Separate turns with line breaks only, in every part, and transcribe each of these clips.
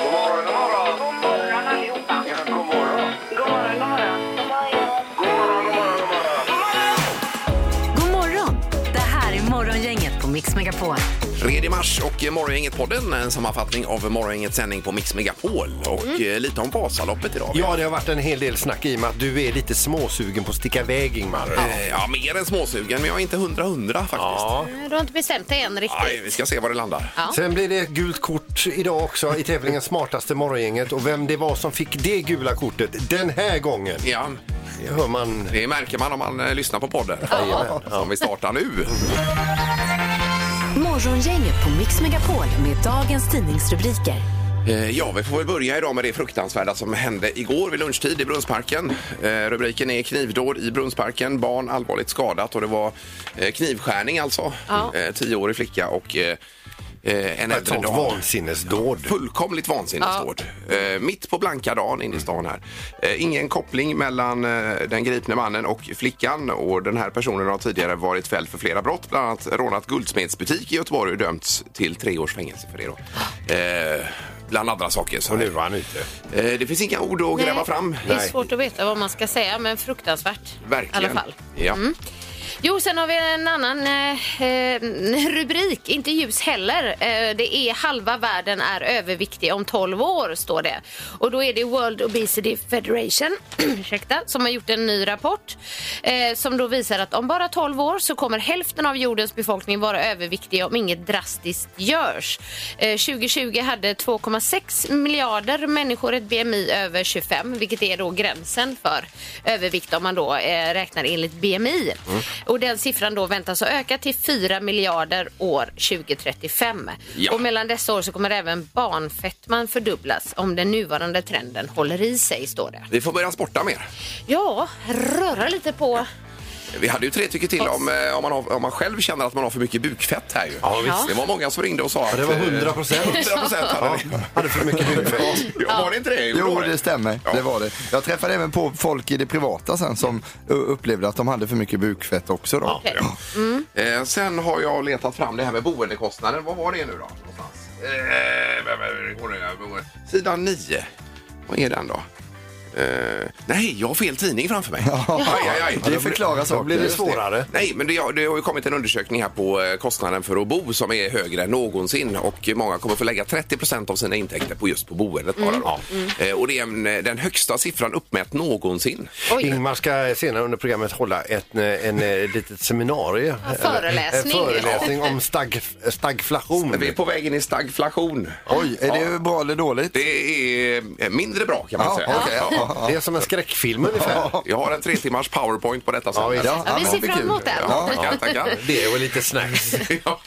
God morgon, god morgon. God morgon allihopa. Ja, god morgon. God morgon, god morgon. God morgon, god morgon, god morgon.
God morgon! Det här är Morgongänget på Mix Megapol.
Eh,
3 mars och Morgongänget-podden, en sammanfattning av Morgongängets sändning på Mix Megapol och eh, lite om Vasaloppet idag.
Ja, det har varit en hel del snack i och med att du är lite småsugen på att sticka iväg, Ingmar.
Eh, ja, mer än småsugen, men jag är inte hundra hundra faktiskt.
Ja.
Du har inte bestämt dig än riktigt.
Aj, vi ska se var det landar.
Ja.
Sen blir det ett gult kort idag också i tävlingen Smartaste morgongänget och vem det var som fick det gula kortet den här gången
Ja,
det hör man.
det märker man om man eh, lyssnar på podden. Som vi startar nu.
Morgongänget på Mix Megapol med dagens tidningsrubriker.
Eh, Ja, vi får väl börja idag med det fruktansvärda som hände igår vid lunchtid i Brunnsparken. Eh, Rubriken är knivdåd i Brunnsparken, barn allvarligt skadat och det var eh, knivskärning alltså.
Ja.
Eh, Tioårig flicka och eh, eh, en
Ett
äldre
sånt
dam.
vansinnesdåd.
Fullkomligt vansinnesdåd. Eh, mitt på blanka dagen
Mm.
inne i stan här. Eh, ingen koppling mellan eh, den gripne mannen och flickan och den här personen har tidigare varit fälld för flera brott, bland annat rånat guldsmedsbutik i Göteborg och dömts till tre års fängelse för det då. Eh, bland andra saker. Så
Och nu
här.
var han ute.
Eh, det finns inga ord att
Nej,
gräva fram.
Det är svårt att veta vad man ska säga, men fruktansvärt.
Verkligen.
I alla fall. Mm.
Ja.
Jo, sen har vi en annan eh, eh, rubrik. Inte ljus heller. Eh, det är halva världen är överviktig om 12 år, står det. Och då är det World Obesity Federation ursäkta, som har gjort en ny rapport eh, som då visar att om bara 12 år så kommer hälften av jordens befolkning vara överviktig om inget drastiskt görs. Eh, 2020 hade 2,6 miljarder människor ett BMI över 25, vilket är då gränsen för övervikt om man då eh, räknar enligt BMI. Och den siffran då väntas ha ökat till 4 miljarder år 2035.
Ja.
Och mellan dessa år så kommer även barnfettman fördubblas om den nuvarande trenden håller i sig, står det.
Vi får börja sporta mer.
Ja, röra lite på.
Vi hade ju tre tycker till om, eh, om, man har, om man själv känner att man har för mycket bukfett här ju.
Ja, visst.
Det var många som ringde och sa att...
det var
eh,
100%.
100% hade
Ja,
det.
hade för mycket hudfett.
Ja, var det inte det?
Jo,
var
det stämmer.
Ja.
Det var det. Jag träffade även på folk i det privata sen som ö, upplevde att de hade för mycket bukfett också. Då.
Okej.
Mm.
Eh, sen har jag letat fram det här med boendekostnader. Vad var det nu då? Någonstans? Eh, vem- vem- hur går det här? Boende- Sidan 9. Vad är den då? Eh, nej, jag har fel tidning framför mig. Aj, aj, aj.
Det förklarar
Då blir det
saker.
svårare.
Nej, men det, det har ju kommit en undersökning här på eh, kostnaden för att bo som är högre än någonsin och många kommer få lägga 30 av sina intäkter på just på boendet bara då.
Mm.
Eh, Och det är en, eh, den högsta siffran uppmätt någonsin.
Ingmar ska senare under programmet hålla ett, eh, en, eh, litet seminarium.
Ja, föreläsning.
En föreläsning om stag, stagflation.
Vi är på väg in i stagflation.
Oj, är det bra eller dåligt?
Det är eh, mindre bra kan man
Ja,
säga.
okej, ja.
Ja.
Det är som en skräckfilm ungefär.
Jag har en tre timmars powerpoint på detta sen.
Ja, visst.
Ja,
Ja, vi
men
ser
det är
fram
kul.
emot det.
Ja.
Tackar, tackar.
Det och lite snacks.
Ja.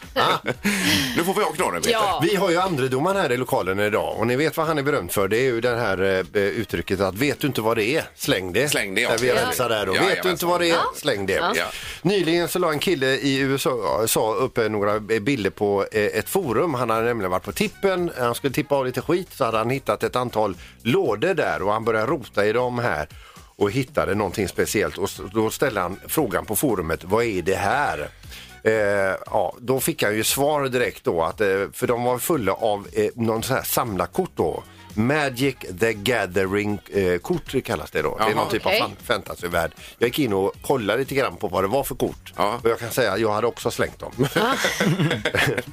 Nu får vi ha knorren, Peter.
Ja.
Vi har ju andredomaren här i lokalen idag och ni vet vad han är berömd för. Det är ju det här eh, uttrycket att vet du inte vad det är, släng det.
Släng det, ja.
Där vi
Ja.
rensar där då.
Ja,
vet
jajamensan.
du inte vad det är, släng det.
Ja.
Nyligen så la en kille i USA sa upp eh, några bilder på eh, ett forum. Han hade nämligen varit på tippen, han skulle tippa av lite skit så hade han hittat ett antal lådor där och han började rota i dem här och hittade någonting speciellt och s- då ställde han frågan på forumet, vad är det här? Eh, ja, då fick han ju svar direkt då att eh, för de var fulla av eh, någon sån här samlarkort då. Magic the Gathering-kort kallas det då. det
Jaha.
är någon typ
Okej.
av fan- fantasyvärld. Jag gick in och kollade lite grann på vad det var för kort.
Ja. Ah.
Och jag kan säga att jag hade också slängt dem.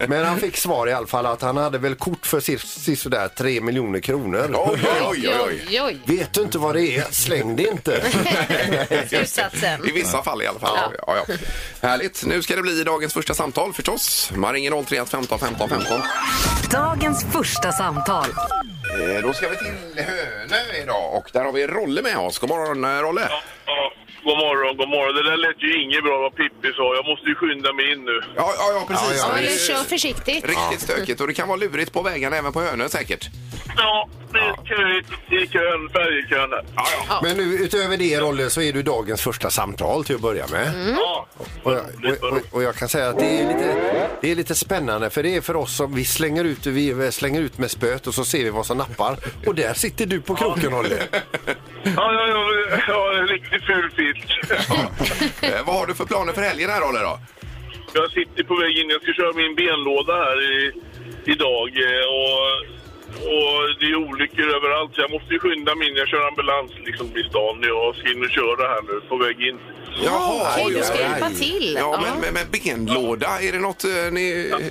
Men han fick svar i alla fall att han hade väl kort för sisådär 3 miljoner kronor.
Oj, oj, oj, oj.
Oj, oj.
Vet du inte vad det är? Släng det inte.
Slutsatsen.
I vissa fall i alla fall. Ja. Ja, Härligt. Nu ska det bli dagens första samtal förstås. Man ringer 031 15 15 15.
Dagens första samtal.
Eh, då ska vi till Hönö idag och där har vi Rolle med oss. God morgon eh, Rolle.
Ja, God morgon, god morgon. Det där lät ju inget bra vad Pippi sa. Jag måste ju skynda mig in nu.
Ja, ja, ja precis.
Ja,
Det är
du kör försiktigt.
Riktigt stökigt och det kan vara lurigt på vägarna även på Hönö säkert.
Ja, det gick kö i kön, färjekön där. Ja, ja.
Men nu utöver det Rolle så är du dagens första samtal till att börja med.
Mm.
ja.
Och, jag, och, och, och jag kan säga att det är, lite, det är lite spännande för det är för oss som vi slänger ut, vi slänger ut med spöet och så ser vi vad som nappar. Och där sitter du på kroken Rolle.
Ja, ja, ja, ja, en riktigt ful fisk.
Eh, vad har du för planer för helgen här Rolle då?
Jag sitter på väg in. Jag ska köra min benlåda här i, idag. eh, Och, och det är olyckor överallt, så jag måste ju skynda mig in. Jag kör ambulans liksom i stan. Jag ska in och köra här nu på väg in.
Jaha,
Okej,
oj,
du
oj,
ska
oj.
hjälpa till.
Ja, men, men, men benlåda, är det något eh, ni,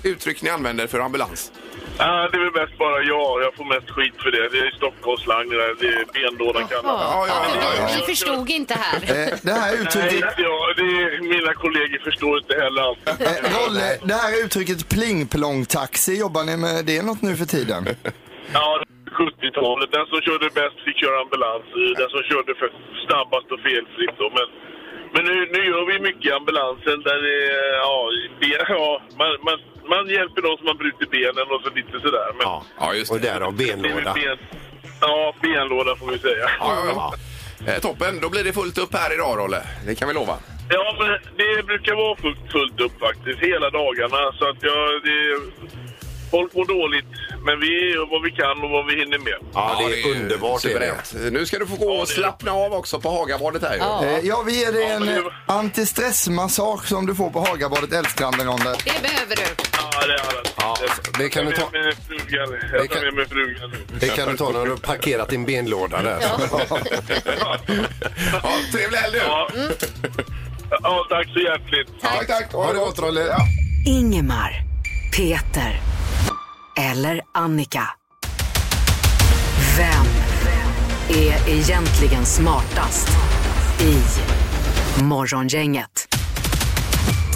uttryck ni använder för ambulans?
Ah, det är väl bäst bara jag. Jag får mest skit för det. Det är Stockholmsslang det där. Det är benlådan kan man.
Ja,
Ja, ja, ja, ja.
Vi förstod inte här.
Eh, det här
Nej,
uttrycket,
ja, det är, mina kollegor förstår inte heller allt.
eh, Rolle, det här uttrycket plingplongtaxi, jobbar ni med det något nu för tiden?
Ja, 70-talet. Den som körde bäst fick köra ambulans. Den som körde för snabbast och felfritt. Då. Men, men nu, nu gör vi mycket i ambulansen. Där det, är, ja, ben, ja, man, man, man hjälper de som har brutit benen och så lite sådär. Men
Ja,
Ja, just det.
och därav
det är väl
benlåda.
ben, ja, benlåda får vi säga.
Ja, ja, ja. Eh, Toppen, då blir det fullt upp här idag Rolle. Det kan vi lova.
Ja, men det brukar vara fullt, fullt upp faktiskt, hela dagarna. Så att jag, det, folk mår dåligt, men vi gör vad vi kan och vad vi hinner med.
Ja, det är underbart. Är det.
suveränt. Nu ska du få gå och slappna av också på Hagabadet här ju.
Eh, ja, vi ger dig
Ja,
en
men det-
eh, antistressmassage som du får på Hagabadet Älvstranden, Rolle.
Det behöver du.
Ja, det är alla.
Ja, det kan du ta.
Jag tar med mig frugan. Jag tar med mig frugan nu.
det kan du ta när du har parkerat din benlåda där.
Ja, trevlig helg nu!
Ja. ja, tack så hjärtligt.
Tack, tack.
Ha det gott Rolle.
Ingemar, Peter eller Annika. Vem är egentligen smartast i Morgongänget?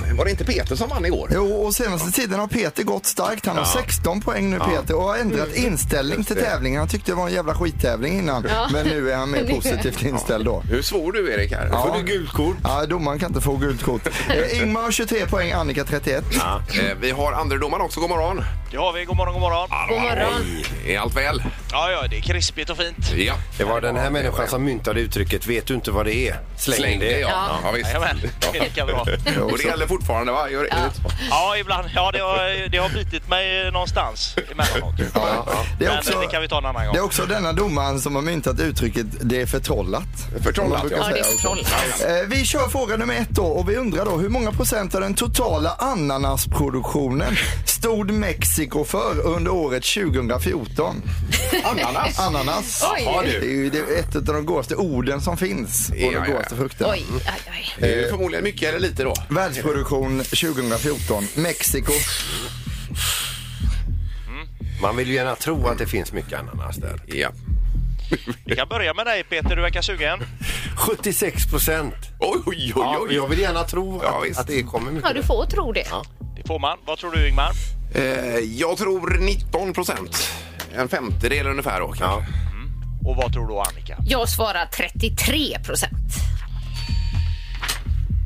Mm.
Var det inte Peter som vann igår?
Jo, och senaste tiden har Peter gått starkt. Han har 16 poäng nu Peter och har ändrat inställning till tävlingen. Han tyckte Mm. det var en jävla skittävling innan. Men nu är han mer positivt inställd då.
Hur svor du Erik här?
Ja.
Får du gult kort?
Ja, domaren kan inte få gult kort. Eh, Ingmar har 23 poäng, Annika 31.
Eh, vi har andredomaren också, god morgon.
Det har vi. God morgon, god morgon.
God morgon.
Är allt väl?
Ja, ja, det är krispigt och fint.
Ja.
Det var den här människan som myntade uttrycket vet du inte vad det är? Släng, det.
ja. Ja. visst.
Jajamän, det är lika bra.
Ja. Och det gäller fortfarande va? Gör, ja.
Ja, ibland. Ja, det har, det har bitit mig någonstans emellanåt.
Det är
Men
också-
det kan vi ta en annan gång.
Det är också denna domaren som har myntat uttrycket det är förtrollat.
Förtrollat,
Som man brukar
ja.
Ja, det är
säga.
förtrollat.
Eh, Vi kör fråga nummer ett då och vi undrar då hur många procent av den totala ananasproduktionen stod Mexiko för under året 2014?
Ananas?
Ananas.
Oj.
Ja, du. Det är ju det- ett av de godaste orden som finns och
Ja, ja,
de
ja.
godaste frukterna.
Oj, aj, aj.
Det är ju förmodligen mycket eller lite då.
Världsproduktion 2014. Mexiko.
Man vill ju gärna tro att det finns mycket ananas där.
Ja.
Vi kan börja med dig Peter, du verkar sugen.
76 procent.
Oj, oj, oj.
Ja,
oj.
jag vill gärna tro
Ja,
att,
visst.
att det kommer mycket.
Ja, du får tro det.
Det får man. Vad tror du Ingmar?
Eh, jag tror 19 procent. En femtedel ungefär då kanske.
Ja.
Och vad tror då Annika?
Jag svarar 33 procent.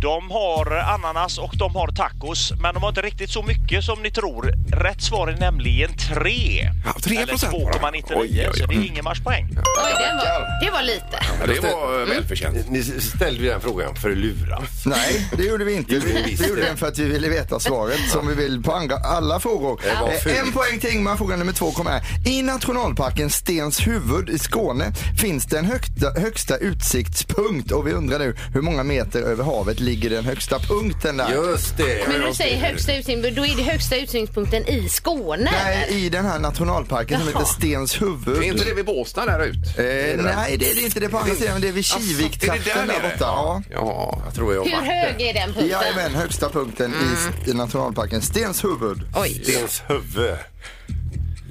De har ananas och de har tacos, men de har inte riktigt så mycket som ni tror. Rätt svar är nämligen 3.
Ja, 3
Eller
procent bara.
2,99,
Oj, oj,
så det är
oj.
Ingemars poäng.
Oj, den var, det var lite.
Ja, det var eh, välförtjänt.
Ni ställde ju den frågan för att lura.
Nej, det gjorde vi inte.
Gjorde vi
Vi,
visst
vi gjorde
det.
den för att vi ville veta svaret som vi vill på andra, alla frågor.
Det var
Eh,
fult.
En poäng till Ingmar. Fråga nummer två kommer här. I nationalparken Stenshuvud i Skåne finns den högsta, högsta utsiktspunkt och vi undrar nu hur många meter över havet ligger den högsta punkten där?
Just det.
Men när du säger högsta utsiktspunkt, då är det högsta utsiktspunkten i Skåne.
Nej, i den här nationalparken som
Jaha.
heter Stenshuvud.
Det är inte det vid Båstad där
Eh,
ut?
nej, det är det inte. Det är på andra sidan, men det är vid Kiviktrakten
Alltså, är
där,
det där nere?
borta. Ja.
Ja.
Jag tror jag
Hur
var.
hög är den punkten?
Jajamän, högsta punkten i s- i nationalparken Stenshuvud.
Oj.
Stens huvud.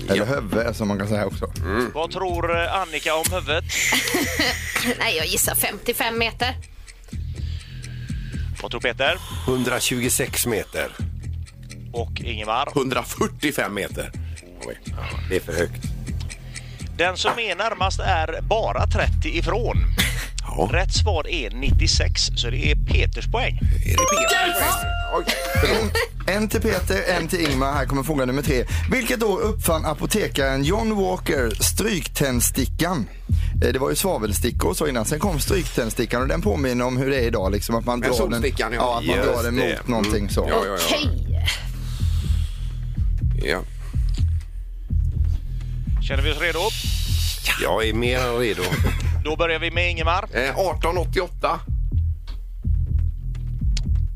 Eller Höve som man kan säga också.
Vad tror Annika om huvudet?
Nej, jag gissar 55 meter.
Vad tror Peter?
126 meter.
Och Ingemar?
145 meter. Oj.
Det är för högt.
Den som är närmast är bara 30 ifrån.
Ja.
Rätt svar är 96, så det är Peters poäng.
Är det Peter? Okej.
En till Peter, en till Ingmar. Här kommer fråga nummer tre. Vilket år uppfann apotekaren John Walker stryktändstickan? Eh, Det var ju svavelstickor och så innan. Sen kom stryktändstickan och den påminner om hur det är idag. Liksom att man
Men
drar den,
solstickan, ja.
ja, att man drar
Just
den
det.
mot någonting så.
Ja, ja, ja.
Okej.
Ja.
Känner vi oss redo?
Jag är mer än redo.
Då börjar vi med Ingemar.
Eh, 1888.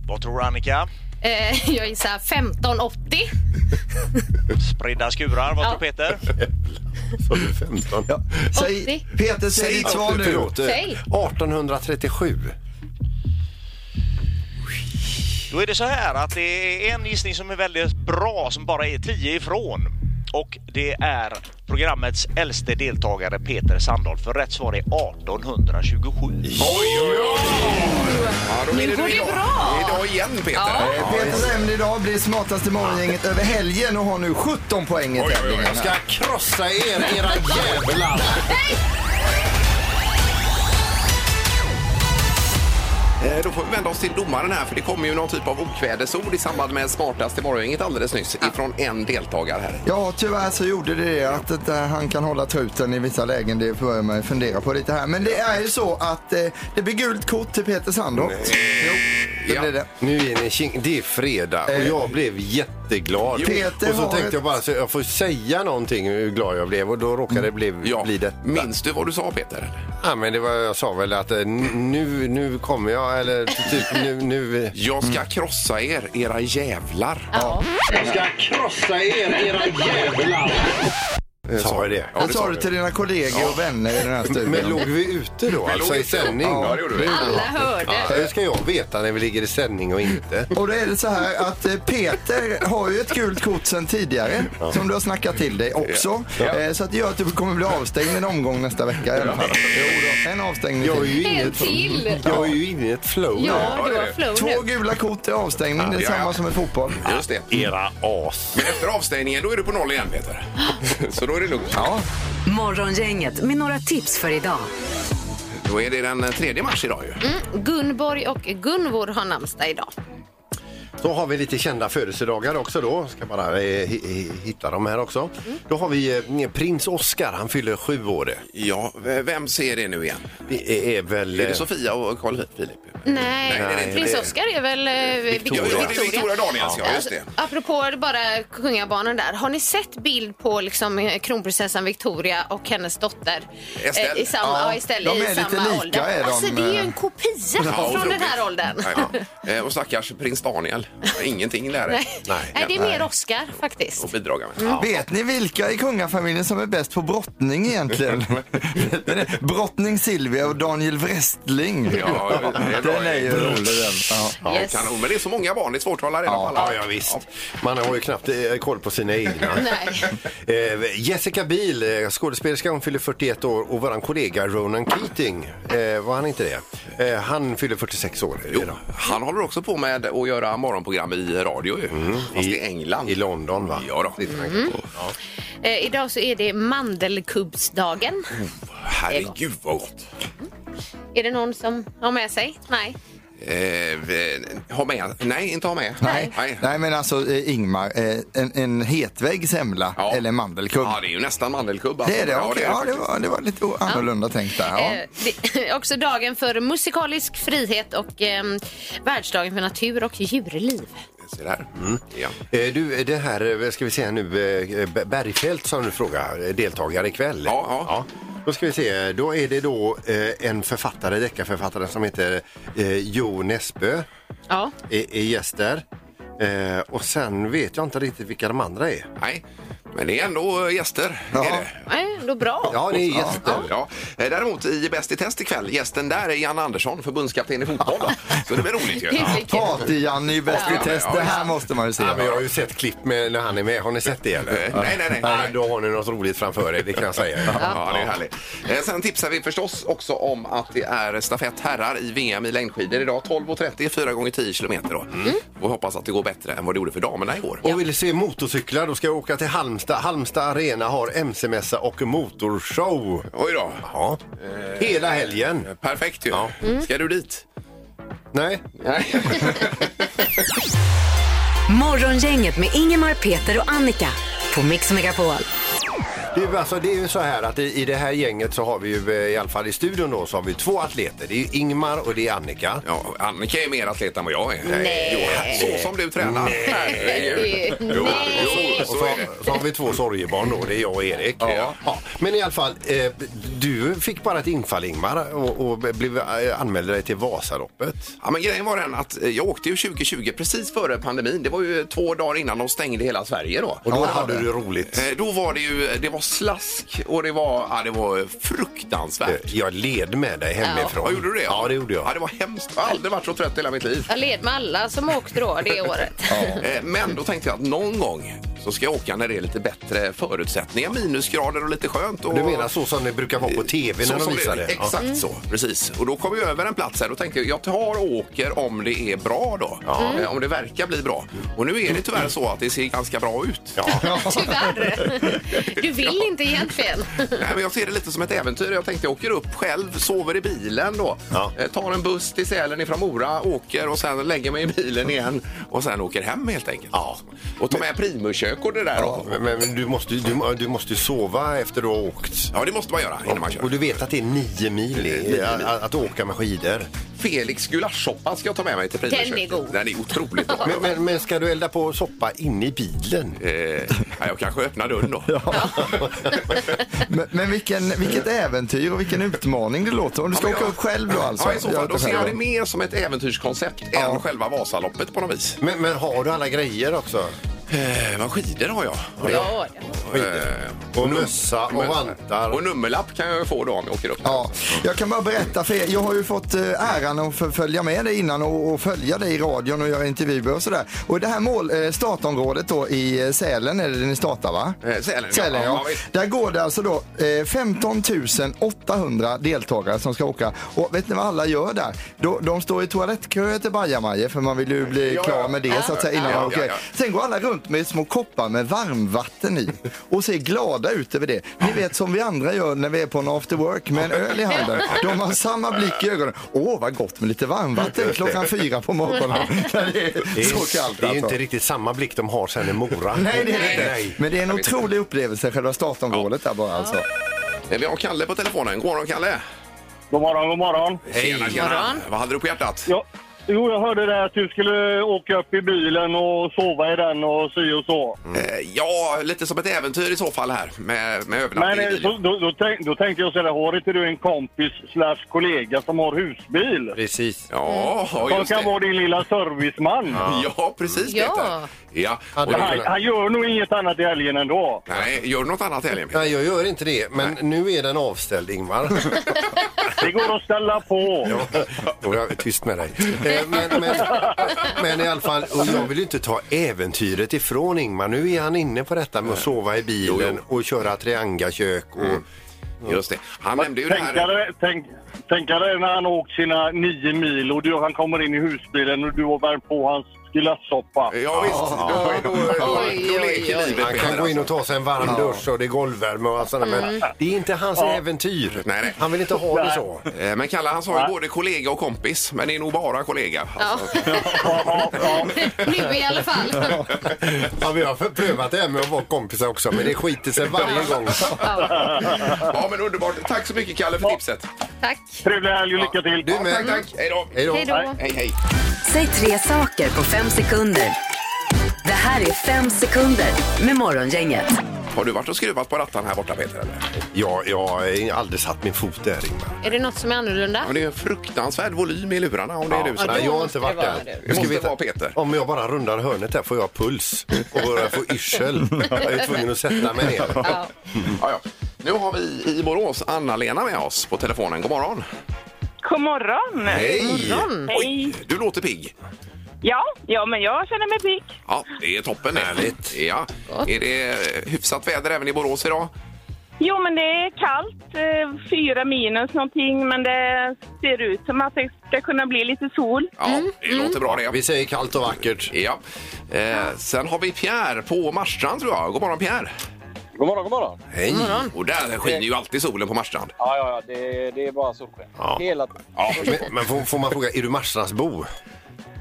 Vad tror du Annika?
Eh, jag gissar 1580.
Spridda skurar. Vad
Ja.
tror Peter?
Så du 15. Ja.
Säg,
80.
Peter, säg ditt svar nu.
Förlåt. eh,
Säg.
1837.
Då är det så här att det är en gissning som är väldigt bra som bara är 10 ifrån. Och det är programmets äldste deltagare Peter Sandholt. För rätt svar är 1827.
Ja, då
Nu
är
går
du
det
idag.
bra.
Det är Idag igen, Peter.
Ja.
Eh, Peters ämne idag blir smartaste morgongänget över helgen och har nu 17 poäng i tävlingen.
Jag ska krossa er, era jävlar!
Eh, Då får vi vända oss till domaren här för det kommer ju någon typ av okvädesord i samband med smartaste morgongänget alldeles nyss ifrån en deltagare här.
Ja, tyvärr så gjorde det det att inte han kan hålla truten i vissa lägen. Det börjar man ju fundera på lite här. Men det är ju så att eh, det blir gult kort till Peter Sandholt. Jo, det
Ja.
blir det.
Nu är ni king. Det är fredag och jag blev jätteglad.
Peter
och så
har
tänkte
ett-
jag bara så jag får säga någonting hur glad jag blev och då
Mm.
råkade det bli, bli det.
Minns du vad du sa Peter?
Ja, men det var, jag sa väl att eh, n- nu, nu kommer jag eller typ nu, nu
Jag ska krossa er, era jävlar.
eh, sa jag det.
Ja,
det sa du till dina kollegor och vänner i den här
Men
studion.
låg vi ute då? Alltså i sändning?
Ja, det gjorde vi.
Alla hörde.
Ja, Hur ska jag veta när vi ligger i sändning och inte?
Och då är det så här att eh, Peter har ju ett gult kort sen tidigare som du har snackat till dig också. Eh, Så att det gör att du kommer bli avstängd en omgång nästa vecka i alla fall. Jo då, En avstängning
Jag är
till.
ju inne i
En
ett-
till.
jag är ju inne i ett flow nu.
Ja, du
det är
har
det.
flow
Två
nu.
gula kort är avstängning, det är
Ja, ja.
samma som i fotboll.
Just det.
Era as.
Men efter avstängningen då är du på noll igen Peter. Så då är det lugnt. Ja.
Morgongänget med några tips för idag.
Då är det den eh, 3 mars idag ju.
Mm. Gunborg och Gunvor har namnsdag idag.
Då har vi lite kända födelsedagar också då. Ska bara eh, hi- hi- hitta dem här också.
Mm.
Då har vi eh, prins Oscar, han fyller sju år. det.
Ja, v- vem ser det nu igen?
Det är väl...
Är
eh,
det Sofia och Carl Philip?
Nej,
Nej, det är inte
prins
det.
Oscar är väl eh,
Ja,
Victoria.
det är Victoria Daniels, ja. Just det.
alltså, Apropå det bara kungabarnen där. Har ni sett bild på liksom eh, kronprinsessan Victoria och hennes dotter?
Estelle.
Eh, I samma,
Ja,
ja, Estelle,
de är
i
lite
samma
lika,
ålder.
är de,
alltså det är ju
eh,
en kopia från den
otroligt.
här åldern.
Ja, ja. Eh, Och stackars prins Daniel. Ingenting där.
Nej. Nej, det är Mm. mer Oscar
Och
faktiskt.
bidraga med.
Vet ni vilka i kungafamiljen som är bäst på brottning egentligen? Vet ni det? brottning Silvia och Daniel Wrestling.
Ja, det är bra.
Den är ju rolig den. Ja.
Ja,
Yes.
kanon. Men det är så många barn, det är svårt att hålla reda på
Ja.
Ja,
alla.
ja, visst. Man har ju knappt eh, koll på sina egna.
Nej.
Eh, Jessica Biel, eh, skådespelerska, hon fyller 41 år och vår kollega Ronan Keating, eh, var han inte det? Eh, han fyller 46 år
Jo,
idag.
han håller också på med att göra morgonprogram i radio ju.
Mm.
Fast i England.
I London va?
Ja då. Ja.
Eh, idag så är det mandelkubbsdagen.
Herregud vad gott.
Är det någon som har med sig? Nej.
Eh, vi- ha med? Nej, inte ha med.
Nej. Nej men alltså eh, Ingmar, eh, en, en hetvägg semla
Ja.
eller mandelkubb.
Ja, det är ju nästan mandelkubb. alltså.
det är det, okej. Ja, det,
faktiskt.
var, det var lite o- annorlunda tänkt där. Ja.
Eh, det är också dagen för musikalisk frihet och eh, världsdagen för natur och djurliv.
Se där.
Mm.
Ja.
Eh, du, det här, eh, ska vi se här nu, eh, B- Bergfeldt som du frågar, eh, deltagare ikväll.
Ja, ja.
Då ska vi se, då är det då eh, en författare, deckarförfattare som heter eh, Jo Nesbø.
Ja.
är, är gäst där. Eh, och sen vet jag inte riktigt vilka de andra är.
Nej, men det är ändå eh, gäster.
Ja.
Är det.
Nej, eh, då bra.
Ja, det är gäster.
Ja. Eh, Däremot i Bäst i test ikväll, gästen där är Jan Andersson, förbundskapten i fotboll. Så det blir roligt
Det
ju.
blir kul.
Party-Janne i Bäst i
Ja.
test,
Ja,
det
ja.
här måste man ju se.
Ja, men jag har ju sett klipp med när han är med. Har ni sett det? Eller?
Eh, nej, nej, nej.
Ja, men då har ni något roligt framför er, det kan jag säga.
Ja, det är härligt. Eh, Sen tipsar vi förstås också om att det är stafett herrar i VM i längdskidor idag. 12.30, 4 gånger 10 kilometer. Då. Mm. Och hoppas att det går bättre än vad det gjorde för damerna igår.
Och vill se motorcyklar, då ska jag åka till Halmstad. Halmstad Arena har MC-mässa och motorshow.
Oj då. Eh,
Ja. Hela helgen.
Perfekt ju. Ska du dit?
Nej,
Nej.
Morgongänget med Ingemar, Peter och Annika på Mix Megapol.
Det är, ju- alltså, det är ju så här att i, i det här gänget så har vi ju eh, i alla fall i studion då så har vi två atleter. Det är ju Ingmar och det är Annika.
Ja, Annika är mer atlet än vad jag är. Eh,
Nej.
Jo, så som du tränar. Herregud. Jo, jo,
Och
så är det.
så, så har vi två sorgebarn då, det är jag och Erik.
Ja.
Men i alla fall, eh, du fick bara ett infall Ingmar och, och blev, eh, anmälde dig till Vasaloppet.
Ja, men grejen var den att eh, jag åkte ju 2020 precis före pandemin. Det var ju två dagar innan de stängde hela Sverige då.
Och då hade du roligt.
Eh, Då var det ju, det var slask och det var, ja, det var
Eh,
fruktansvärt.
Jag led med dig hemifrån.
Ja, gjorde du det?
Ja, det gjorde jag.
Ja, det var hemskt. Jag har aldrig varit så trött i hela mitt liv.
Jag led med alla som åkte då det året.
Eh, Men då tänkte jag att någon gång så ska jag åka när det är lite bättre förutsättningar, minusgrader och lite skönt. Och...
Du menar så som det brukar vara på tv
Så
när de
som
visar det? Ja. Mm.
Exakt så, precis. Och då kom vi över en plats här och tänkte jag, jag tar och åker om det är bra då. Eh, Om det verkar bli bra. Och nu är det tyvärr så att det ser ganska bra ut.
Tyvärr. Du vill inte egentligen.
Nej, men jag ser det lite som ett äventyr. Jag tänkte jag åker upp själv, sover i bilen då.
Ja.
Eh, Tar en buss till Sälen ifrån Mora, åker och sen lägger mig i bilen igen och sen åker hem helt enkelt.
Ja.
Och tar med primuskök och det där
Ja,
då.
men, men du, måste, ju- du, må- du måste ju sova efter du har åkt.
Ja, det måste man göra innan man kör.
Och du vet att det är nio mil, i- Att, att åka med skidor.
Felix gulaschsoppa ska jag ta med mig till primuskök.
Den är god.
Den är otroligt bra.
Men, men, men ska du elda på soppa inne i bilen?
Eh, ja, jag kanske öppnar dörren då.
Men, men vilken, vilket äventyr och vilken utmaning det låter som. Du ska
Ja, men
åka
jag-
upp själv då alltså?
Ja, i så fall. Då
åker
ser
själv
jag
då.
det mer som ett äventyrskoncept än själva Vasaloppet på något vis.
Men, men har du alla grejer också?
Eh, vad skidor har jag?
Ja, ja.
Och mössa och vantar.
Och nummerlapp kan jag ju få då om jag åker upp.
Ja, jag kan bara berätta för er. Jag har ju fått eh, äran att få följa med dig innan och, och följa dig i radion och göra intervjuer och sådär. Och det här mål, eh, startområdet då i eh, Sälen är det ni startar va?
Eh, Sälen, ja.
Sälen
Ja,
ja.
visst.
Där går det alltså då eh, 15 800 deltagare som ska åka. Och vet ni vad alla gör där? De, de står i toalettköer till bajamajor för man vill ju bli
Ja, ja.
klar med det så att säga innan
Ja,
man
ja,
åker.
ja.
Sen går alla runt med små koppar med varmvatten i och ser glada ut över det. Ni vet som vi andra gör när vi är på en after work med en öl i handen. De har samma blick i ögonen. Åh, vad gott med lite varmvatten klockan fyra på morgonen. När det
Det
är
är,
så kallt
det är ju
alltså.
inte riktigt samma blick de har sen i Mora.
Nej, det är det inte.
Nej.
Men det är en otrolig upplevelse, själva startområdet där bara alltså.
Eh, Vi har Kalle på telefonen. God morgon, Kalle!
God morgon, god morgon.
Tjena, tjena. Vad hade du på hjärtat?
Ja. Jo, jag hörde det att du skulle åka upp i bilen och sova i den och si och så.
Eh, ja, lite som ett äventyr i så fall här med, med
Men
övernattning i
eh, så,
bilen.
då, då, tänk, då tänkte jag sådär, har inte du en kompis slash kollega som har husbil?
Precis.
Ja, ja,
Som
just
kan
det.
vara din lilla serviceman.
Ja, precis
Ja.
Peter. Ja.
Ja,
Och,
det-
Han, han gör nog inget annat i helgen ändå.
nej, gör du något annat i helgen? Peter?
Nej, jag gör inte det. Men nu är den avställd, Ingmar.
Det går att ställa på.
Då är jag tyst med dig. Eh, Men, men, men i alla fall, och jag vill ju inte ta äventyret ifrån Ingmar. Nu är han inne på detta med att sova i bilen och köra triangakök. Och,
Just det. Han nämnde ju det
Tänk
här.
dig- Tänk tänk dig när han har åkt sina nio mil och du, han kommer in i husbilen och du har värmt på hans gulaschsoppa.
Ja, visst. Då, då, då, då, då leker livet
han kan
Peter,
gå in och
alltså.
ta sig en varm dusch och det är golvvärme och allt sånt där. Men det är inte hans äventyr.
Nej, nej.
Han vill inte ha det så.
Eh, Men Kalle han sa ju både kollega och kompis, men det är nog bara kollega. Alltså.
Ja, ja,
Nu i alla fall.
Ja, vi har prövat det här med att vara kompisar också, men det skiter sig varje gång.
Ja, men underbart. Tack så mycket Kalle för tipset.
Tack.
Trevlig helg och lycka till.
Du
Tack,
med.
tack. Hej då.
Hej då.
Hej då.
Hej, hej.
Säg tre saker på fem sekunder. Det här är fem sekunder med Morgongänget.
Har du varit och skruvat på rattan här borta Peter? Eller?
Ja, jag har aldrig satt min fot där, Ingmar.
Är det något som är annorlunda?
Ja, men det är en fruktansvärd volym i lurarna om det är du som...
Ja,
Nej,
då
jag har
måste
inte
det
varit
vara
där.
det.
Jag ska
Måste vara Peter.
Om jag bara rundar hörnet där får jag puls och börjar få yrsel. Jag är tvungen att sätta mig ner.
Ja.
Ja, ja. Nu har vi i Borås Anna-Lena med oss på telefonen. God morgon!
God morgon!
Hej!
Mm. Hej!
Du låter pigg.
Ja, ja, men jag känner mig pigg.
Ja, det är toppen. Härligt. Ja. Är det eh, hyfsat väder även i Borås idag?
Jo, men det är kallt, eh, fyra minus någonting, men det ser ut som att det ska kunna bli lite sol.
Ja, det låter bra det.
Vi säger kallt och vackert.
Ja. Eh, sen har vi Pierre på Marstrand tror jag. God morgon Pierre!
God morgon, god morgon.
Hej!
Och där skiner ju alltid solen på Marstrand.
Ja, ja, det, är bara solsken.
Ja.
Hela...
Men, men får, får man fråga, är du Marstrandsbo?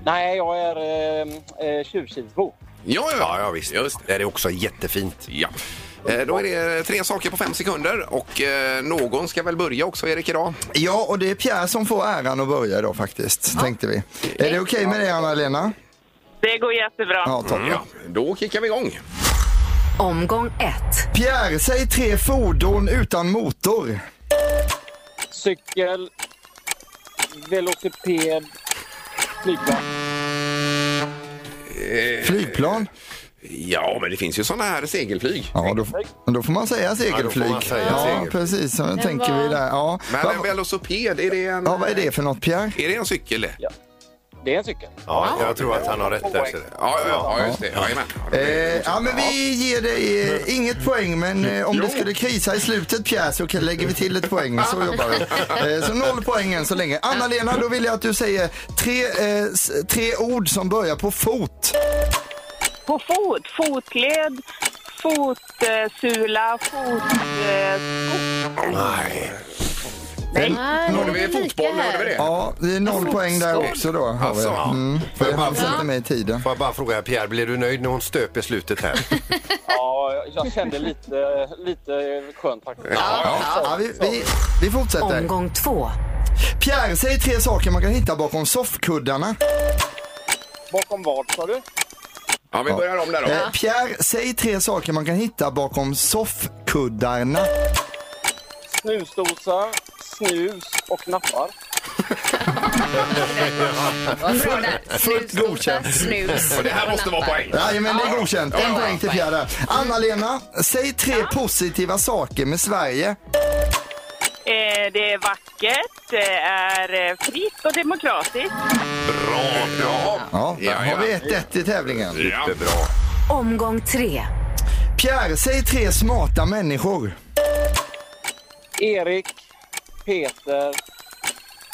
Nej, jag är eh, eh, Tjurkilsbo.
Ja, ja, ja,
visst. Det är också jättefint.
Ja. Eh, Då är det tre saker på fem sekunder och eh, någon ska väl börja också, Erik, idag?
Ja, och det är Pierre som får äran att börja idag faktiskt, tänkte vi. Är det okej med det Anna-Lena?
Det går jättebra.
Ja, toppen.
Ja, då kickar vi igång.
Omgång 1.
Pierre, säg tre fordon utan motor.
Cykel, velociped, flygplan.
Flygplan?
Ja, men det finns ju sådana här segelflyg.
Ja, då, då får man säga segelflyg.
Ja, då får man säga
ja
segel.
precis. Så tänker vi där. Ja.
Men
Va-
en velociped, är det en... eh,
ja, vad är det för något Pierre?
Är det en cykel? Ja,
Det är en cykel.
Ja, jag tror att han har rätt där. så det-
ja, ja, ja just det. Jajamän. Ja, det blir-
Eh, ja, men vi ger dig eh, inget poäng, men eh, om det skulle krisa i slutet Pierre så kan- lägger vi till ett poäng. Så jobbar vi. Eh, så noll poäng än så länge. Anna-Lena, då vill jag att du säger tre, eh, s- tre ord som börjar på fot.
På fot, fotled, fotsula, fotsko.
Nej.
Nej,
Nu hörde vi fotboll, nu hörde vi det.
Ja, det är noll poäng där också då. Har vi.
Alltså, ja.
Mm, för han får inte med i tiden.
Får jag bara fråga Pierre, blir du nöjd när hon stöp i slutet här?
Ja, jag kände lite, lite skönt faktiskt.
Ja, vi, vi, vi fortsätter.
Omgång 2.
Pierre, säg tre saker man kan hitta bakom soffkuddarna.
Bakom vad sa du?
Ja, vi börjar om där
Eh,
då.
Pierre, säg tre saker man kan hitta bakom soffkuddarna.
Snusdosa, snus och nappar.
Fullt
godkänt.
Snus.
Och det här måste vara poäng.
Jajamän, det är godkänt. En
Ja.
poäng till Pierre där. Anna-Lena, säg tre positiva saker med Sverige.
Eh, Det är vackert, det är eh, fritt och demokratiskt.
Bra, bra.
Ja, där
Ja,
har
ja.
vi ett ett i tävlingen.
Ja.
Omgång 3.
Pierre, säg tre smarta människor.
Erik, Peter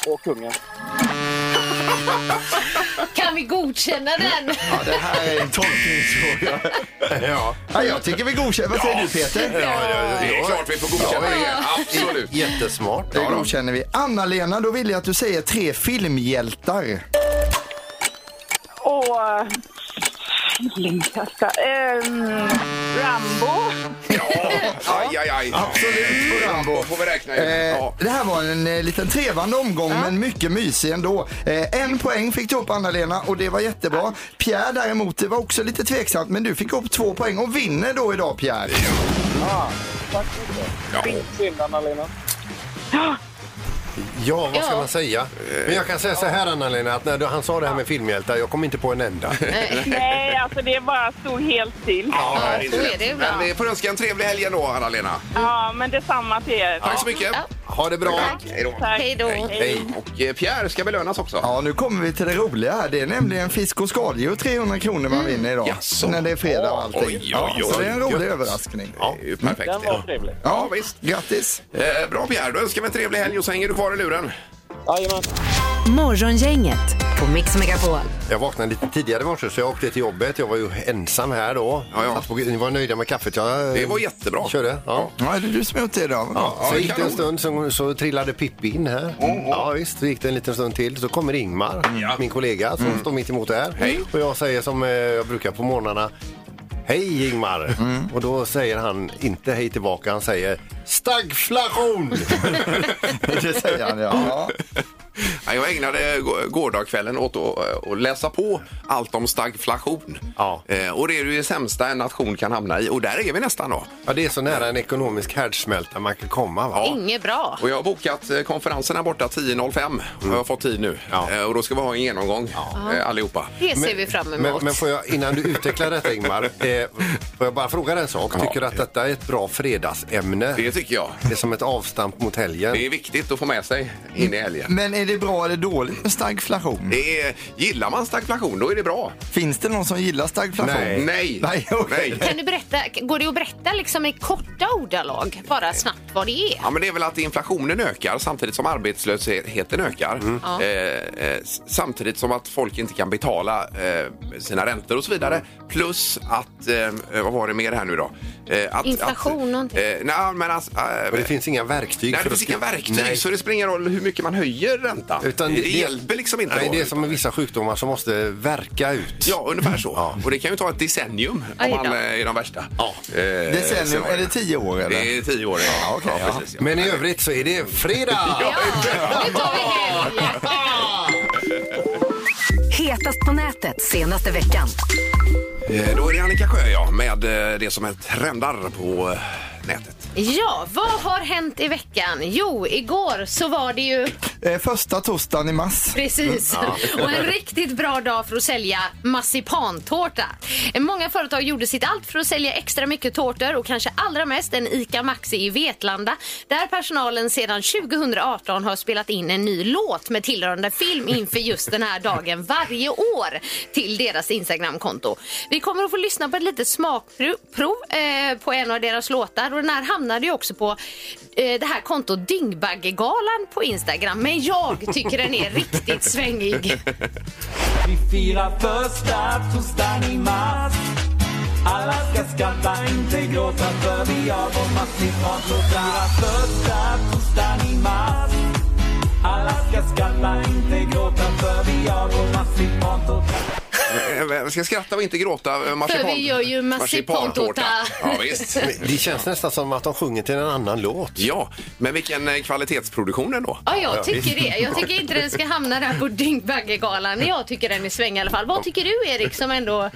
och kungen.
Kan vi godkänna den?
Ja, det här är en tolkningsfråga.
ja.
Ja, jag tycker vi godkänner. Vad säger du Peter?
Det är klart vi får godkänna det. Absolut.
Jättesmart.
Det godkänner vi. Anna-Lena, då vill jag att du säger tre filmhjältar.
Och... eh, Lyngkasta. Ehm, Rambo.
Aj, aj, aj. Absolut. Rambo får vi räkna
Eh,
in. Ja.
Det här var en eh, liten trevande omgång men mycket mysig ändå. Eh, en poäng fick du upp Anna-Lena och det var jättebra. Pierre däremot, det var också lite tveksamt men du fick upp två poäng och vinner då idag Pierre.
Ja.
Synd Anna-Lena.
Ja, vad ska
Ja.
man säga? Men jag kan säga så här Anna-Lena, att när du- han sa det här med filmhjältar, jag kom inte på en enda.
Nej, alltså det bara stod helt still.
Ja,
så är det ju bra.
Men vi får önska en trevlig helg ändå, Anna-Lena.
Ja, men detsamma till er.
Tack så mycket.
Ja.
Ha det bra!
Hej då.
Tack.
Hej då.
Hej!
Och eh, Pierre ska belönas också.
Ja, nu kommer vi till det roliga här. Det är nämligen fisk och skaldjur 300 kronor man vinner idag.
Mm. Jaså.
När det är fredag och allting.
Oj, oj,
Ja, så
oj.
det är en rolig
Gött.
överraskning.
Ja, det är ju perfekt.
Den var trevlig.
Ja, visst.
Grattis!
Eh, bra Pierre, då önskar vi en trevlig helg och så hänger du kvar i luren.
Jajamän.
Morgongänget på Mix Megapol.
Jag vaknade lite tidigare i morse så jag åkte till jobbet. Jag var ju ensam här då.
Ja, ja.
Satt på- Ni var nöjda med kaffet? Jag, eh,
Det var jättebra.
Körde. Ja.
Ja, är det du som har gjort det idag?
Ja, så
det
gick det en
kanon.
stund, så, så trillade Pippi in här. Ja, visst, så gick det en liten stund till. Så kommer Ingmar,
Ja. Mm.
min kollega, som står mitt emot här.
Hej.
Och jag säger som eh, jag brukar på morgnarna. Hej Ingmar!
Mm.
Och då säger han inte hej tillbaka, han säger stagflation!
Det säger han, ja. ja.
Ja, jag ägnade gå- gårdagskvällen åt att eh, att läsa på allt om stagflation.
Ja.
Eh, Och det är ju det sämsta en nation kan hamna i och där är vi nästan då.
ja, det är så nära en ekonomisk härdsmälta man kan komma. Va?
Inget bra.
Och jag har bokat eh, konferensen här borta 10.05 och jag har fått tid nu.
Ja.
Eh, Och då ska vi ha en genomgång eh, allihopa.
Det ser vi fram
Mm. Men,
emot.
men får jag, innan du utvecklar detta Ingmar, eh, får jag bara fråga dig en sak? Tycker du att detta är ett bra fredagsämne?
Det tycker jag.
Det är som ett avstamp mot helgen.
Det är viktigt att få med sig in i helgen.
Men är det bra eller dåligt med stagflation?
Det är, gillar man stagflation, då är det bra.
Finns det någon som gillar stagflation?
Nej.
Nej!
Nej, okej.
Nej.
Kan du berätta, går det att berätta liksom i korta ordalag, bara snabbt vad det är?
Ja, men det är väl att inflationen ökar samtidigt som arbetslösheten ökar.
Mm.
Ja.
Eh, eh, s- samtidigt som att folk inte kan betala eh, sina räntor och så vidare. Plus att, eh, vad var det mer här nu då? Eh, att,
Inflation
att,
någonting.
Eh, nej, men alltså, eh,
Och det finns inga verktyg
Nej,
för
det finns inga
skriva-
verktyg,
Nej.
så det spelar ingen roll hur mycket man höjer räntan.
Utan
det, hjälper liksom inte.
Nej,
då,
det är
utan-
som med vissa sjukdomar som måste verka ut.
Ja, ungefär så. Och det kan ju ta ett decennium om
Aj då.
man eh, är de värsta. Ja.
Decennium, Eh, är det tio år eller?
Det är tio år, ja. ja, precis, ja.
Men i övrigt så är det fredag!
Hetast på nätet senaste veckan.
Eh, Då är det Annika Sjö, ja, med eh, det som är trendar på eh, nätet.
Ja, vad har hänt i veckan? Jo, igår så var det ju
Eh, första torsdagen i mars.
Precis. Och en riktigt bra dag för att sälja massipantårta. Många företag gjorde sitt allt för att sälja extra mycket tårtor och kanske allra mest en ICA Maxi i Vetlanda där personalen sedan 2018 har spelat in en ny låt med tillhörande film inför just den här dagen varje år till deras Instagramkonto. Vi kommer att få lyssna på ett litet smakprov eh, på en av deras låtar och den här hamnade ju också på eh, det här kontot Dyngbaggegalan på Instagram. Men jag tycker den är riktigt svängig.
Vi firar första torsdagen i mars Alla ska skratta, inte gråta för vi har vår massivpratslåta Första torsdagen i mars Alla ska skratta, inte gråta för vi har vår massivpratslåta
Eh, eh, Ska skratta och inte gråta. eh,
För
marsipan-
vi gör ju marsipantårta.
Ja, visst.
Det känns nästan som att de sjunger till en annan låt.
Ja, men vilken eh, kvalitetsproduktion ändå.
Ja, jag tycker det. Jag tycker inte den ska hamna där på Dyngbaggegalan. Jag tycker den är sväng i alla fall. Vad tycker du Erik som ändå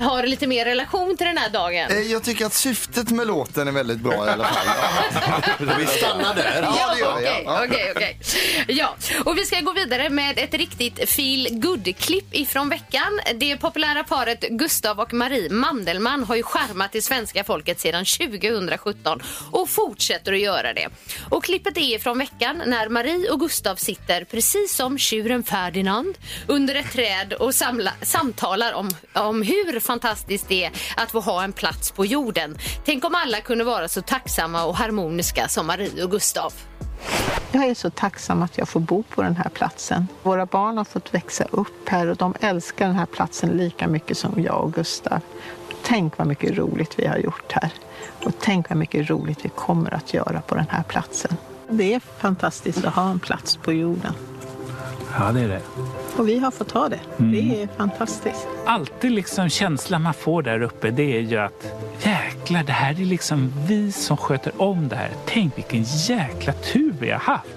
har lite mer relation till den här dagen?
Eh, Jag tycker att syftet med låten är väldigt bra i alla fall.
Vi stannar där.
Ja, det gör vi.
Okej,
Ja.
okej, okej. Ja, och vi ska gå vidare med ett riktigt feel good klipp ifrån veckan. Det populära paret Gustav och Marie Mandelmann har ju charmat det svenska folket sedan 2017 och fortsätter att göra det. Och klippet är ifrån veckan när Marie och Gustav sitter precis som tjuren Ferdinand under ett träd och samla, samtalar om, om hur fantastiskt det är att få ha en plats på jorden. Tänk om alla kunde vara så tacksamma och harmoniska som Marie och Gustav.
Jag är så tacksam att jag får bo på den här platsen. Våra barn har fått växa upp här och de älskar den här platsen lika mycket som jag och Gustav. Tänk vad mycket roligt vi har gjort här. Och tänk vad mycket roligt vi kommer att göra på den här platsen. Det är fantastiskt att ha en plats på jorden.
Ja, det är det.
Och vi har fått ha det.
Mm.
Det är fantastiskt.
Alltid liksom känslan man får där uppe det är ju att jäklar, det här är liksom vi som sköter om det här. Tänk vilken jäkla tur vi har haft.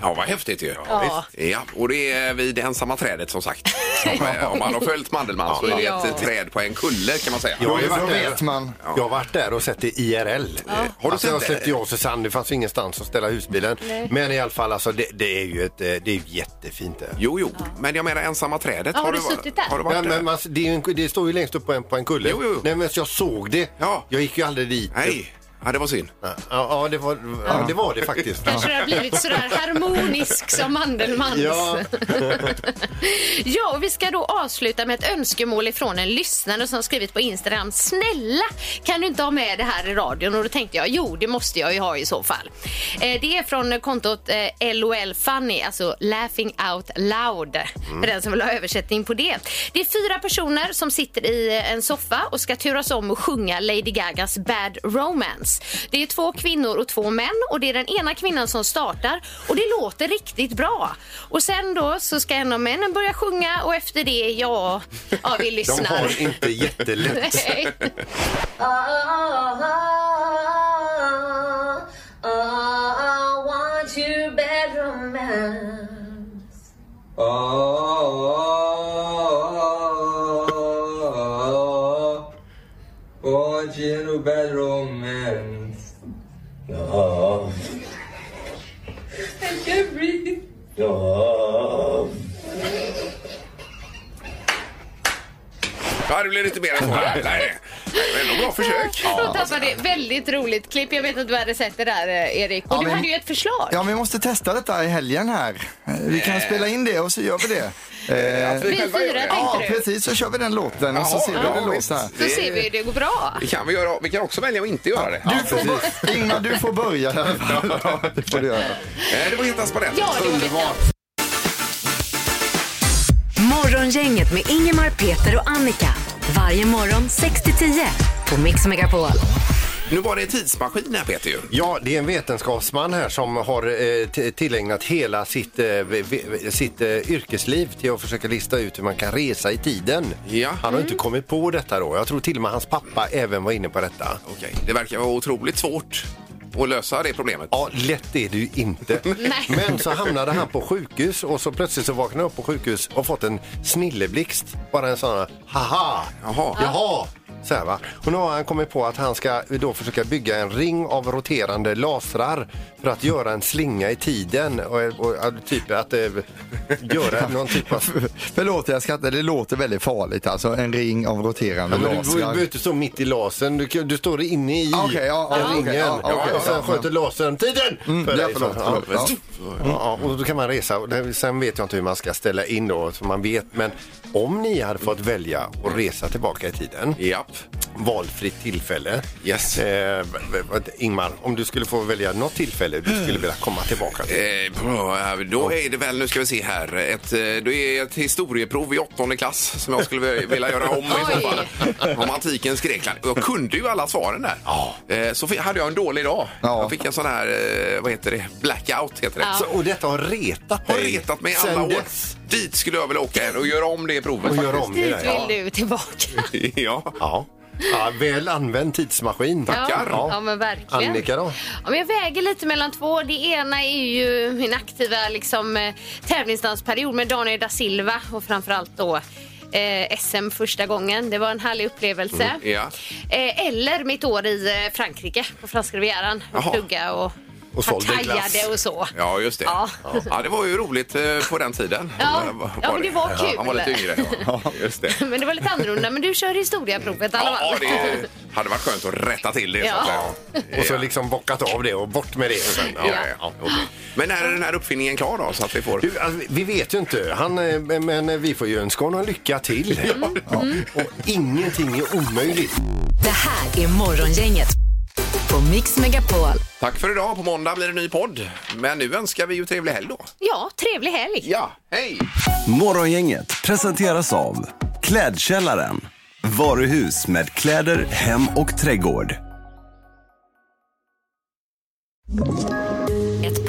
Ja, vad häftigt ju.
Ja.
ja, och det är vid det ensamma trädet som sagt. Som, eh, Om man har följt Mandelmann så är det
Ja.
ett eh, träd på en kulle kan man säga.
Jag har ju varit där.
Ja.
Jag har varit där och sett det IRL.
Ja.
Eh,
Har du
alltså,
sett
jag
det?
släppte ju av Susanne, det fanns ju ingenstans att ställa husbilen.
Nej.
Men i alla fall, alltså, det, det är ju ett, eh, det är ju jättefint där.
Jo, jo, men jag menar ensamma trädet.
Ja, har du
varit-
suttit
där? har du varit
Nej,
där?
men man, det, är ju en, det står ju längst upp på en, på en kulle.
Jo, jo, jo.
Nej, men jag såg det. Ja. Jag gick ju aldrig dit.
Nej, ja, det var synd.
Ja, ja, det, var, ja. det var det faktiskt.
Kanske det har blivit sådär harmonisk som Mandelmans.
Ja.
Ja, och vi ska då avsluta med ett önskemål ifrån en lyssnare som skrivit på Instagram. Snälla, kan du inte ha med det här i radion? Och då tänkte jag, jo, det måste jag ju ha i så fall. Eh, det är från kontot eh, LOL Funny, alltså Laughing Out Loud, för den som vill ha översättning på det. Det är fyra personer som sitter i eh, en soffa och ska turas om och sjunga Lady Gagas Bad Romance. Det är två kvinnor och två män och det är den ena kvinnan som startar och det låter riktigt bra. Och sen då så ska en av männen börja sjunga och efter det, ja, ja vi lyssnar.
De har inte jättelätt.
Nej.
I want your bedroom Oh, want your bedroom romance. Oh,
I can't breathe.
oh.
Ja, det blev lite mer än så. Nej, nej. Men ändå bra försök.
Då tappade det. Väldigt roligt klipp. Jag vet att du hade sett det där, eh, Erik. Och
Ja,
du
men-
hade ju ett förslag.
Ja, vi måste testa detta i helgen här. Eh, Vi kan
Eh.
spela in det och så gör vi det. Eh,
att vi Vi själva fyra, gör det. tänkte
Ja,
du?
precis. Så kör vi den låten och så
Jaha,
ser vi hur
ja,
det
visst.
låter.
Så ser vi hur det går bra.
Det kan vi göra. Vi kan också välja att inte göra det.
Du får bör- Ingmar, du får börja. Ja, det får du göra.
Eh, Det var Hetast på nätet.
Ja, det var Morgongänget med Ingemar, Peter och Annika. Varje morgon 6 till 10 på Mix Megapol.
Nu var det en tidsmaskin här Peter ju.
Ja, det är en vetenskapsman här som har eh, t- tillägnat hela sitt, eh, v- v- sitt eh, yrkesliv till att försöka lista ut hur man kan resa i tiden. Han har inte
Mm.
kommit på detta då. Jag tror till och med hans pappa även var inne på detta.
Okej, det verkar vara otroligt svårt att lösa det problemet.
Ja, lätt är det ju inte. Men så hamnade han på sjukhus och så plötsligt så vaknade jag upp på sjukhus och fått en snilleblixt. Bara en sån här, haha, jaha, jaha. Så här, va? Och nu har han kommit på att han ska då försöka bygga en ring av roterande lasrar för att göra en slinga i tiden. Och, och, och typ att eh, göra någon typ av...
Förlåt, jag skrattar. Det låter väldigt farligt alltså. En ring av roterande
Ja, men du- du
lasrar.
behöver inte stå mitt i lasern, du, kan- du står inne i
Ah, Okej, ja, ja,
den
okej,
ringen.
ja, okej,
och sen
ja, ja.
sköter lasern tiden!
Mm,
för
ja,
dig,
förlåt,
så-
förlåt,
ja.
ja.
Mm. Ja, och då kan man resa. Och det- Sen vet jag inte hur man ska ställa in då, så man vet. Men om ni hade fått välja att resa tillbaka i tiden, valfritt tillfälle.
Yes.
Eh, v- v- Ingmar, om du skulle få välja något tillfälle du skulle vilja komma tillbaka till?
Eh, bra, Då är det väl, nu ska vi se här, ett, eh, det är ett historieprov i åttonde klass som jag skulle vi- vilja göra om i så fall. Om antikens Grekland. Jag kunde ju alla svaren där. Eh, Så fi- hade jag en dålig dag. Jag fick en sån här, eh, vad heter det, blackout heter det.
Så, Alltså, och detta har retat
Har retat mig i alla
Sen
år. Dit skulle jag vilja åka igen och göra om det provet.
Och göra
faktiskt.
om det
Dit
där, ja.
vill du tillbaka.
ja.
ja. väl använd tidsmaskin.
Ja, ja
Ja.
men verkligen.
Annika då?
Ja, men jag väger lite mellan två. Det ena är ju min aktiva liksom, eh, tävlingsdansperiod med Daniel da Silva och framförallt då eh, SM första gången. Det var en härlig upplevelse.
Ja.
Eh, eller mitt år i eh, Frankrike på franska rivieran.
Jaha.
Och plugga och,
Och sålde glass.
partajade och så.
Ja, just det. Ja.
Ja.
det var ju roligt eh, på den tiden.
Ja.
Var-
Ja, men det var kul.
Han var lite yngre. Ja. Just det.
Men det var lite annorlunda. Men du kör historieprovet i alla fall.
Ja, det hade varit skönt att rätta till det. så att
Ja.
säga.
Och så liksom bockat av det och bort med det. Sen.
Ja, ja, ja. Okej. Men när är den här uppfinningen klar då? Så att vi får...
Du, alltså, vi vet ju inte, han, eh, men vi får ju önska honom lycka till. Ja. Och ingenting är omöjligt.
Det här är Morgongänget på Mix Megapol.
Tack för idag. På måndag blir det en ny podd. Men nu önskar vi ju trevlig helg då.
Ja, trevlig helg.
Ja, hej!
Morgongänget presenteras av Klädkällaren. Varuhus med kläder, hem och trädgård.
Ett